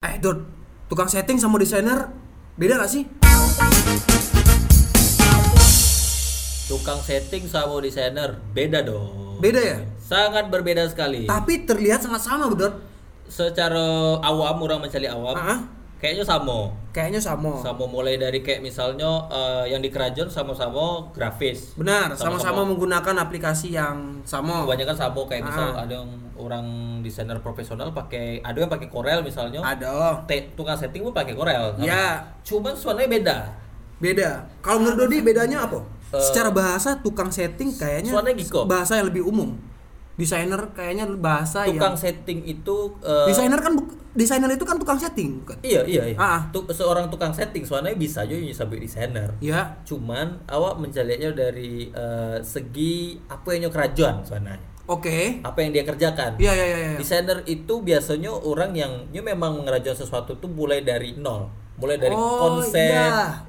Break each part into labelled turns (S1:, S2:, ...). S1: Eh, Dot, tukang setting sama desainer beda gak sih?
S2: Tukang setting sama desainer beda dong.
S1: Beda ya?
S2: Sangat berbeda sekali.
S1: Tapi terlihat sangat sama, Bu Dot.
S2: Secara awam orang mencari awam,
S1: Ah,
S2: kayaknya sama.
S1: kayaknya sama.
S2: Sama mulai dari kayak misalnya eh, yang di kerajaan sama-sama grafis.
S1: Benar, sama-sama
S2: Sama-sama.
S1: menggunakan aplikasi yang sama.
S2: Kebanyakan sama kayak misal
S1: Ah.
S2: ada yang orang desainer profesional pakai ada yang pakai Corel misalnya.
S1: Ada.
S2: Te- tukang setting pun pakai Corel. sama.
S1: Ya,
S2: Cuman suaranya beda.
S1: beda. Kalau menurut Dodi bedanya apa? Secara bahasa tukang setting kayaknya
S2: Eh, suaranya giko.
S1: bahasa yang lebih umum. Desainer kayaknya bahasa yang
S2: Tukang setting itu eh,
S1: Desainer kan bu- desainer itu kan tukang setting, bukan?
S2: Iya iya. iya.
S1: Ah, ah.
S2: Tu- seorang tukang setting soalnya bisa aja sampai desainer.
S1: Ya,
S2: Cuman awak mencarinya dari eh, segi apa yang nyo kerajaan soalnya.
S1: oke.
S2: Apa yang dia kerjakan.
S1: Iya, iya, iya, iya.
S2: Desainer itu biasanya orang yang nyo memang ngerajuan sesuatu tuh mulai dari nol, mulai dari
S1: Oh,
S2: konsep.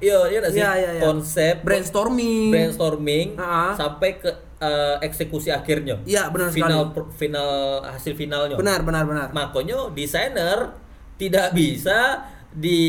S1: iya.
S2: Iya iya nggak sih?
S1: Iya, iya, iya.
S2: Konsep
S1: Brainstorming.
S2: brainstorming
S1: Ah.
S2: sampai ke eh, eksekusi akhirnya.
S1: Iya, benar
S2: final pro- final hasil finalnya.
S1: Benar, benar, benar.
S2: Makanya desainer tidak bisa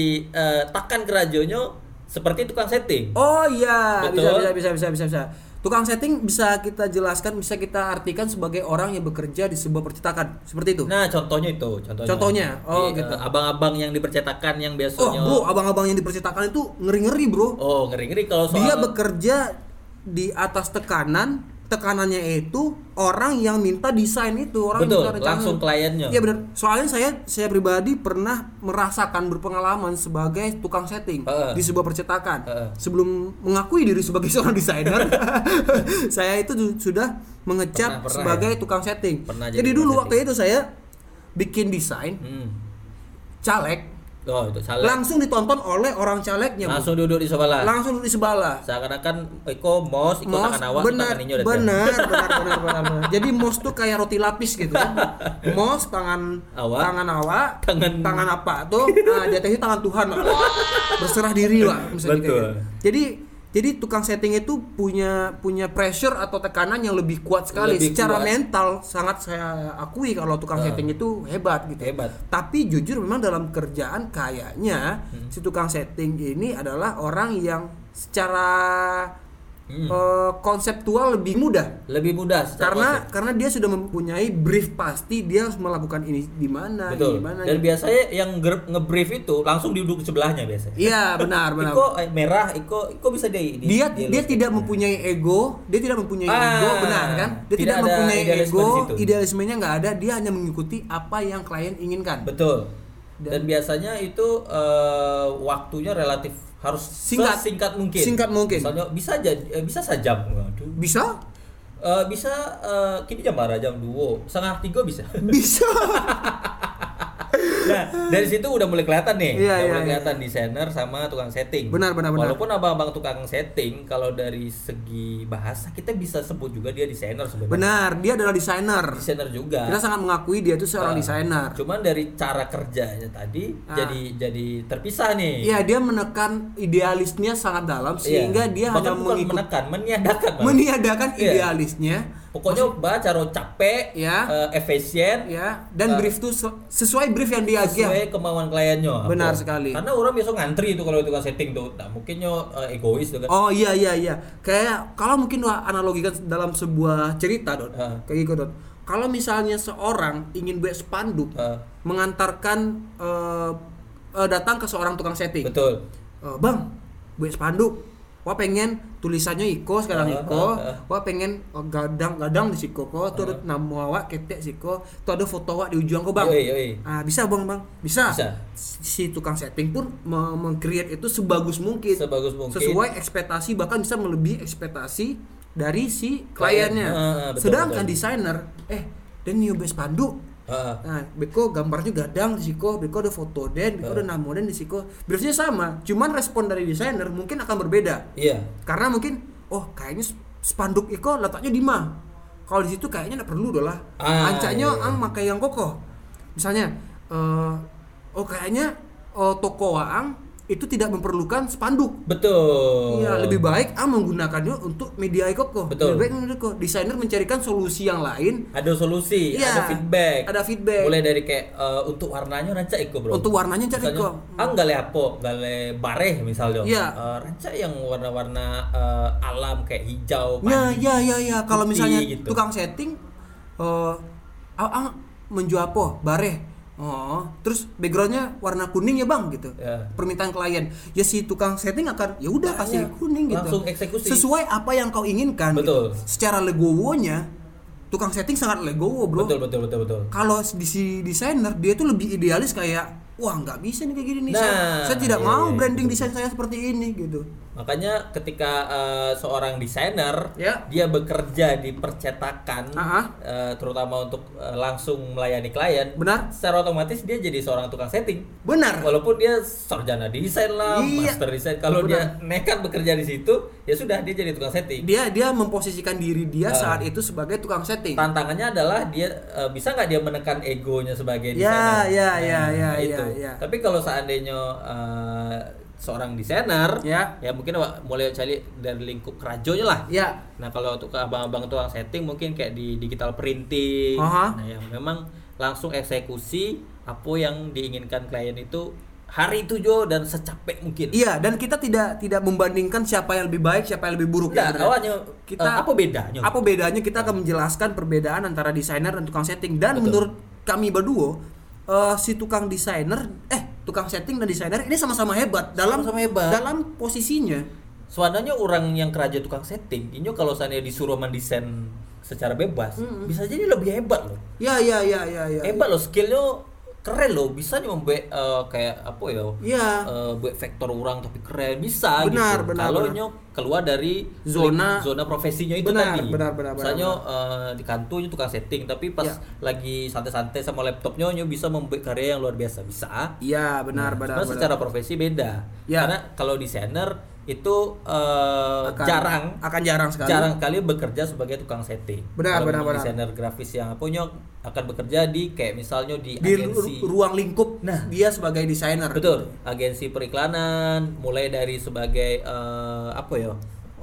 S2: ditakan kerajonya seperti tukang setting.
S1: Oh iya, bisa,
S2: Betul.
S1: bisa bisa bisa bisa bisa. Tukang setting bisa kita jelaskan, bisa kita artikan sebagai orang yang bekerja di sebuah percetakan. Seperti itu.
S2: Nah, contohnya itu, contohnya.
S1: Contohnya? Oh,
S2: Di, eh,
S1: gitu.
S2: abang-abang yang dipercetakan yang
S1: oh,
S2: biasanya
S1: bro, abang-abang yang di percetakan itu ngeri-ngeri, Bro.
S2: Oh, ngeri-ngeri kalau soal
S1: Dia bekerja di atas tekanan, tekanannya itu orang yang minta desain itu, orang yang
S2: Betul,
S1: minta rancangan.
S2: langsung kliennya.
S1: Iya benar. Soalnya saya saya pribadi pernah merasakan berpengalaman sebagai tukang setting
S2: Heeh.
S1: di sebuah percetakan.
S2: Heeh.
S1: Sebelum mengakui diri sebagai seorang desainer, saya itu du- sudah mengecap
S2: Pernah, pernah
S1: sebagai tukang setting.
S2: Pernah
S1: jadi,
S2: jadi
S1: dulu
S2: tukang
S1: waktu itu saya bikin desain
S2: Hmm.
S1: caleg,
S2: Oh, itu salah.
S1: langsung ditonton oleh orang calegnya. iya, Bu.
S2: Langsung duduk di sebelah.
S1: Langsung di sebelah.
S2: Seakan-akan Eko mos, Eko
S1: Mos,
S2: tangan awak,
S1: benar,
S2: tangan ninyo dah.
S1: benar, benar, benar, benar, benar. Jadi mos tuh kayak roti lapis gitu kan. Mos tangan
S2: Awak.
S1: tangan awak,
S2: Tangan-
S1: tangan apa tuh? Nah, di atasnya tangan Tuhan lah. Berserah diri lah misalnya kayak
S2: Betul.
S1: gitu. Jadi jadi tukang setting itu punya punya pressure atau tekanan yang lebih kuat sekali
S2: Lebih
S1: secara
S2: kuat. Ah.
S1: mental sangat saya akui kalau tukang setting itu hebat gitu.
S2: Hebat.
S1: Tapi jujur memang dalam kerjaan kayaknya
S2: Hmm.
S1: si tukang setting ini adalah orang yang secara eh, konseptual lebih mudah
S2: Lebih mudah Hmm. secara ya?
S1: karena karena dia sudah mempunyai brief pasti dia harus melakukan ini di mana Iya, ini
S2: Betul.
S1: di mana
S2: Dan biasanya yang ger- nge-brief itu langsung duduk di sebelahnya biasanya.
S1: iya benar benar
S2: Iko eh, merah, Iko Iko bisa di, di-
S1: dia
S2: di-
S1: dia tidak mempunyai ego dia tidak mempunyai
S2: Ah,
S1: ego benar kan dia
S2: tidak
S1: tidak,
S2: ada
S1: mempunyai
S2: idealisme
S1: ego
S2: di situ.
S1: idealismenya nggak ada dia hanya mengikuti apa yang klien inginkan
S2: betul. Dan, biasanya itu eh, waktunya relatif harus
S1: Singkat.
S2: singkat mungkin.
S1: Singkat mungkin.
S2: Misalnya bisa jadi eh, bisa sejam. Waduh.
S1: bisa
S2: Eh, bisa eh, kini jam berapa? Jam 2. Setengah 3 bisa.
S1: bisa
S2: Nah, dari situ udah mulai kelihatan
S1: Iya,
S2: nih. udah
S1: iya,
S2: mulai
S1: iya.
S2: kelihatan desainer sama tukang setting.
S1: Benar, benar, benar.
S2: Walaupun abang-abang tukang setting kalau dari segi bahasa kita bisa sebut juga dia desainer sebenarnya.
S1: benar dia adalah desainer
S2: Desainer juga.
S1: kita sangat mengakui dia itu
S2: Ah.
S1: seorang desainer
S2: Cuman dari cara kerjanya tadi
S1: Ah.
S2: jadi jadi terpisah nih.
S1: Iya dia menekan idealisnya sangat dalam sehingga dia
S2: Iya. Bahkan
S1: hanya
S2: bukan
S1: mengikuti
S2: menekan, meniadakan. malah.
S1: meniadakan
S2: Iya.
S1: idealisnya
S2: Pokoknya baca cara capek,
S1: Iya.
S2: eh, efisien,
S1: ya dan brief tuh se- sesuai brief yang dia
S2: Ah. sesuai kemauan kliennya.
S1: Benar
S2: Apa?
S1: sekali.
S2: Karena orang biasa ngantri itu kalau tukang setting tuh. Nah, mungkin yo eh, egois tuh kan.
S1: Oh iya iya iya. Kayak kalau mungkin lo analogikan dalam sebuah cerita Dot.
S2: Heeh.
S1: Kayak gitu Dot. Kalau misalnya seorang ingin buat spanduk
S2: Heeh.
S1: mengantarkan eh, eh, datang ke seorang tukang setting.
S2: Betul.
S1: Eh, bang, buat spanduk. Wah pengen tulisannya Iko sekarang
S2: Heeh,
S1: Iko.
S2: heeh.
S1: Wah pengen eh, gadang gadang di Siko kok. Tuh ada nama awak ketek Siko. Tuh ada foto awak di ujung kok bang.
S2: Ah. Yoi, yoi.
S1: Ah, bisa bang bang. Bisa.
S2: Bisa.
S1: Si tukang setting pun me- meng-create itu sebagus mungkin
S2: Sebagus mungkin.
S1: Iya. sesuai ekspektasi bahkan bisa melebihi ekspektasi dari si
S2: Klien.
S1: kliennya.
S2: Ah, ah, betul,
S1: Sedangkan
S2: betul.
S1: desainer eh dan new base pandu.
S2: Heeh.
S1: Nah, Beko gambarnya gadang di Siko, Beko ada foto dan, Beko ada nama dan di Siko. Biasanya sama, cuman respon dari desainer mungkin akan berbeda.
S2: Iya.
S1: Karena mungkin oh kayaknya sp- spanduk Iko letaknya di mana? Kalau di situ kayaknya nggak perlu dolah.
S2: Ah,
S1: Ancaknya
S2: iya, iya.
S1: ang makai yang kokoh. Misalnya eh, oh kayaknya eh, toko Waang itu tidak memerlukan spanduk.
S2: Betul.
S1: Iya, lebih baik ah menggunakannya untuk media kok.
S2: Oh. Betul.
S1: Lebih baik menurutku desainer mencarikan solusi yang lain
S2: Ada solusi,
S1: Iya,
S2: ada feedback.
S1: ada feedback.
S2: Mulai dari kayak eh, untuk warnanya ranca iko, Bro.
S1: untuk warnanya cari
S2: Misalnya,
S1: kok.
S2: ah nggak le apa, nggak le bareh misalnya.
S1: Iya.
S2: Eh, ranca yang warna-warna eh, alam kayak hijau,
S1: Nah,
S2: padi.
S1: ya ya ya kalau
S2: Putih
S1: misalnya
S2: gitu.
S1: tukang setting eh ah, ah, menjual apa? Bareh. Oh, terus backgroundnya warna kuning ya bang gitu.
S2: Ya.
S1: Permintaan klien. Ya si tukang setting akan ya udah kasih kuning gitu.
S2: Langsung eksekusi.
S1: Sesuai apa yang kau inginkan.
S2: Betul.
S1: gitu. Secara legowonya, tukang setting sangat legowo bro.
S2: Betul, betul, betul, betul.
S1: kalau di si desainer dia tuh lebih idealis kayak wah nggak bisa nih kayak gini nih saya,
S2: Nah,
S1: saya tidak
S2: iya,
S1: mau
S2: iya,
S1: branding
S2: betul.
S1: desain saya seperti ini gitu
S2: Makanya ketika eh, seorang desainer
S1: Ya.
S2: dia bekerja di percetakan
S1: Aha.
S2: eh, terutama untuk eh, langsung melayani klien,
S1: benar
S2: secara otomatis dia jadi seorang tukang setting.
S1: benar
S2: Walaupun dia sarjana desain lah,
S1: Iya.
S2: master desain, kalau dia
S1: Benar.
S2: nekat bekerja di situ, ya sudah dia jadi tukang setting.
S1: dia dia memposisikan diri dia
S2: Ah.
S1: saat itu sebagai tukang setting
S2: Tantangannya adalah dia eh, bisa nggak dia menekan egonya
S1: Ya,
S2: sebagai desainer. Nah,
S1: ya, ya, ya, ya,
S2: itu.
S1: ya.
S2: Tapi kalau seandainya eh, seorang desainer,
S1: Ya.
S2: ya mungkin wa- mulai cari dari lingkup kerajonya lah.
S1: ya
S2: Nah kalau untuk abang-abang tukang setting mungkin kayak di digital printing,
S1: Aha.
S2: nah yang memang langsung eksekusi apa yang diinginkan klien itu hari itu Jo dan secapek mungkin.
S1: iya dan kita tidak tidak membandingkan siapa yang lebih baik siapa yang lebih buruk
S2: Nah,
S1: ya, benar.
S2: awalnya kita
S1: Kita-
S2: apa bedanya?
S1: apa bedanya kita akan menjelaskan perbedaan antara desainer dan tukang setting dan
S2: Betul.
S1: menurut kami berdua eh, si tukang desainer eh tukang setting dan desainer ini sama-sama hebat dalam
S2: Sama-sama hebat.
S1: dalam posisinya
S2: Soalnya orang yang kerja tukang setting, ini kalau seandainya disuruh mendesain secara bebas, bisa jadi lebih hebat loh.
S1: Ya ya ya ya ya.
S2: Hebat loh skillnya keren loh, bisa nih membuat eh, kayak apa ya?
S1: Ya.
S2: eh, buat vektor orang tapi keren bisa
S1: Benar,
S2: gitu.
S1: benar,
S2: Kalau
S1: benar.
S2: nyo keluar dari
S1: Zona-
S2: zona profesinya itu
S1: Benar,
S2: tadi.
S1: benar, benar, benar,
S2: Misalnya eh, di kantornya tukang setting tapi pas
S1: Ya.
S2: lagi santai-santai sama laptopnya nyo bisa membuat karya yang luar biasa bisa.
S1: Iya benar
S2: Nah,
S1: benar.
S2: cuman
S1: benar.
S2: secara profesi beda.
S1: Ya.
S2: Karena kalau desainer itu eh,
S1: Akan-
S2: jarang
S1: akan jarang sekali.
S2: jarang kali bekerja sebagai tukang setting.
S1: Benar,
S2: Kalau
S1: benar,
S2: memang
S1: benar.
S2: Desainer grafis yang punya akan bekerja di kayak misalnya di,
S1: di ru-
S2: agensi. Nah.
S1: ruang lingkup dia sebagai desainer.
S2: Betul, agensi periklanan mulai dari sebagai eh, apa ya?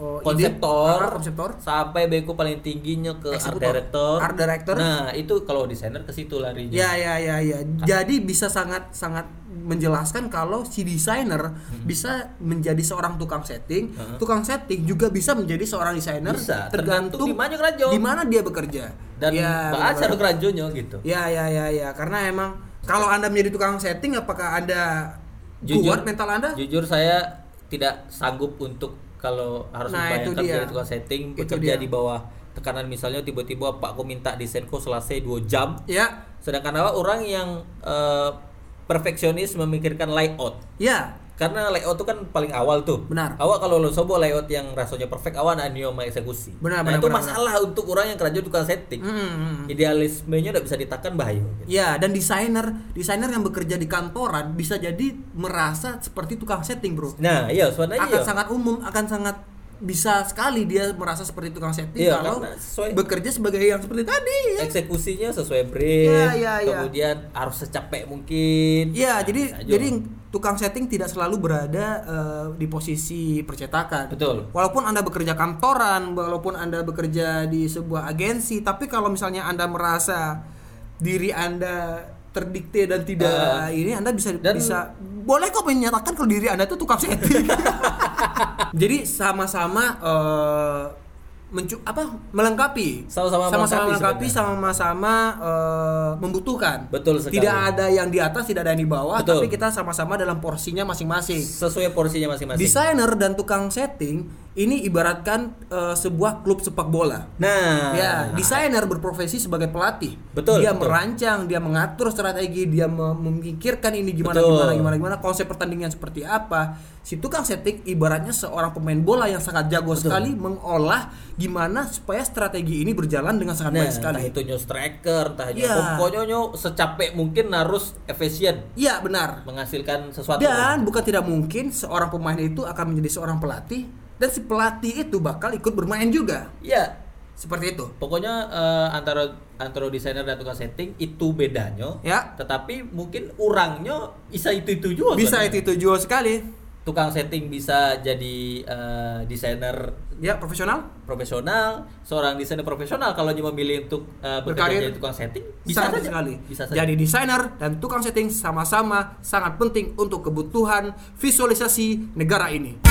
S1: Oh, ide.
S2: konseptor,
S1: Ah, konseptor.
S2: sampai beku paling tingginya ke
S1: Eksekutor.
S2: art director.
S1: Art director.
S2: Nah, itu kalau desainer ke situ larinya.
S1: Ya ya ya ya. Jadi bisa sangat sangat menjelaskan kalau si desainer
S2: Hmm.
S1: bisa menjadi seorang tukang setting,
S2: Mhm.
S1: tukang setting juga bisa menjadi seorang desainer
S2: Bisa,
S1: Ya,
S2: tergantung
S1: tergantung
S2: di mana kerja.
S1: di mana dia bekerja.
S2: Dan
S1: ya, benar-benar.
S2: bahas cara keranjonya gitu.
S1: Ya ya ya ya karena emang kalau Anda menjadi tukang setting apakah Anda kuat mental Anda?
S2: Jujur saya tidak sanggup untuk kalau harus
S1: Nah, itu
S2: membayangkan
S1: dia.
S2: jadi tukang setting
S1: Itu
S2: bekerja
S1: dia.
S2: di bawah tekanan misalnya tiba-tiba Pak aku minta desainku selesai 2 jam
S1: Ya.
S2: sedangkan awak orang yang eh, perfeksionis memikirkan layout
S1: Ya,
S2: karena layout itu kan paling awal tuh
S1: Benar.
S2: awak kalau lo sobo layout yang rasanya perfect awak nak nio eksekusi
S1: Benar,
S2: nah,
S1: benar, benar,
S2: itu
S1: Hmm,
S2: masalah untuk orang yang kerja tukang setting
S1: Mm-mm.
S2: idealismenya tidak bisa ditekan bahaya gitu.
S1: Ya, dan desainer, desainer yang bekerja di kantoran bisa jadi merasa seperti tukang setting, Bro.
S2: nah iya sebenarnya
S1: Akan
S2: iya.
S1: sangat umum, akan sangat bisa sekali dia merasa seperti tukang setting
S2: Iya,
S1: kalau
S2: karena sesuai- Iya,
S1: bekerja sebagai yang seperti tadi. Ya,
S2: eksekusinya sesuai brief
S1: Ya, ya, ya.
S2: kemudian harus secapek mungkin
S1: Iya,
S2: Nah,
S1: jadi
S2: bisa aja.
S1: jadi tukang setting tidak selalu berada eh, di posisi percetakan.
S2: Betul.
S1: Walaupun Anda bekerja kantoran, walaupun Anda bekerja di sebuah agensi, tapi kalau misalnya Anda merasa diri Anda terdikte dan tidak nah, ini Anda bisa
S2: Eh, Dan-
S1: bisa boleh kok menyatakan kalau diri Anda itu tukang setting. jadi sama-sama eh, mencu- apa melengkapi
S2: Sama-sama melengkapi
S1: melengkapi
S2: sebenarnya.
S1: sama-sama eh, membutuhkan
S2: Betul sekali.
S1: tidak ada yang di atas tidak ada yang di bawah
S2: Betul.
S1: tapi kita sama-sama dalam porsinya masing-masing
S2: sesuai porsinya masing-masing
S1: desainer dan tukang setting ini ibaratkan eh, sebuah klub sepak bola
S2: nah
S1: Ya, desainer berprofesi sebagai pelatih.
S2: Betul,
S1: Dia
S2: betul.
S1: merancang, dia mengatur strategi, dia me- memikirkan ini gimana
S2: Betul.
S1: gimana gimana gimana konsep pertandingan seperti apa. Si tukang setting ibaratnya seorang pemain bola yang sangat jago sekali mengolah gimana supaya strategi ini berjalan dengan sangat
S2: nah,
S1: baik sekali.
S2: entah itu nyo striker entah itu
S1: Ya.
S2: pokoknya nyo secapek mungkin harus efisien
S1: Iya, benar.
S2: menghasilkan sesuatu
S1: Dan bukan tidak mungkin seorang pemain itu akan menjadi seorang pelatih dan si pelatih itu bakal ikut bermain juga.
S2: ya
S1: Seperti itu.
S2: pokoknya eh, antara antara desainer dan tukang setting itu bedanya
S1: Ya.
S2: tetapi mungkin orangnya bisa itu itu juga
S1: Bisa
S2: sebenarnya.
S1: itu itu juga sekali.
S2: tukang setting bisa jadi eh, desainer
S1: ya profesional
S2: profesional, seorang desainer profesional kalau dia memilih untuk eh,
S1: Berkarir.
S2: bekerja jadi tukang setting bisa
S1: sangat
S2: saja.
S1: sekali.
S2: Bisa saja.
S1: Jadi desainer dan tukang setting sama-sama sangat penting untuk kebutuhan visualisasi negara ini.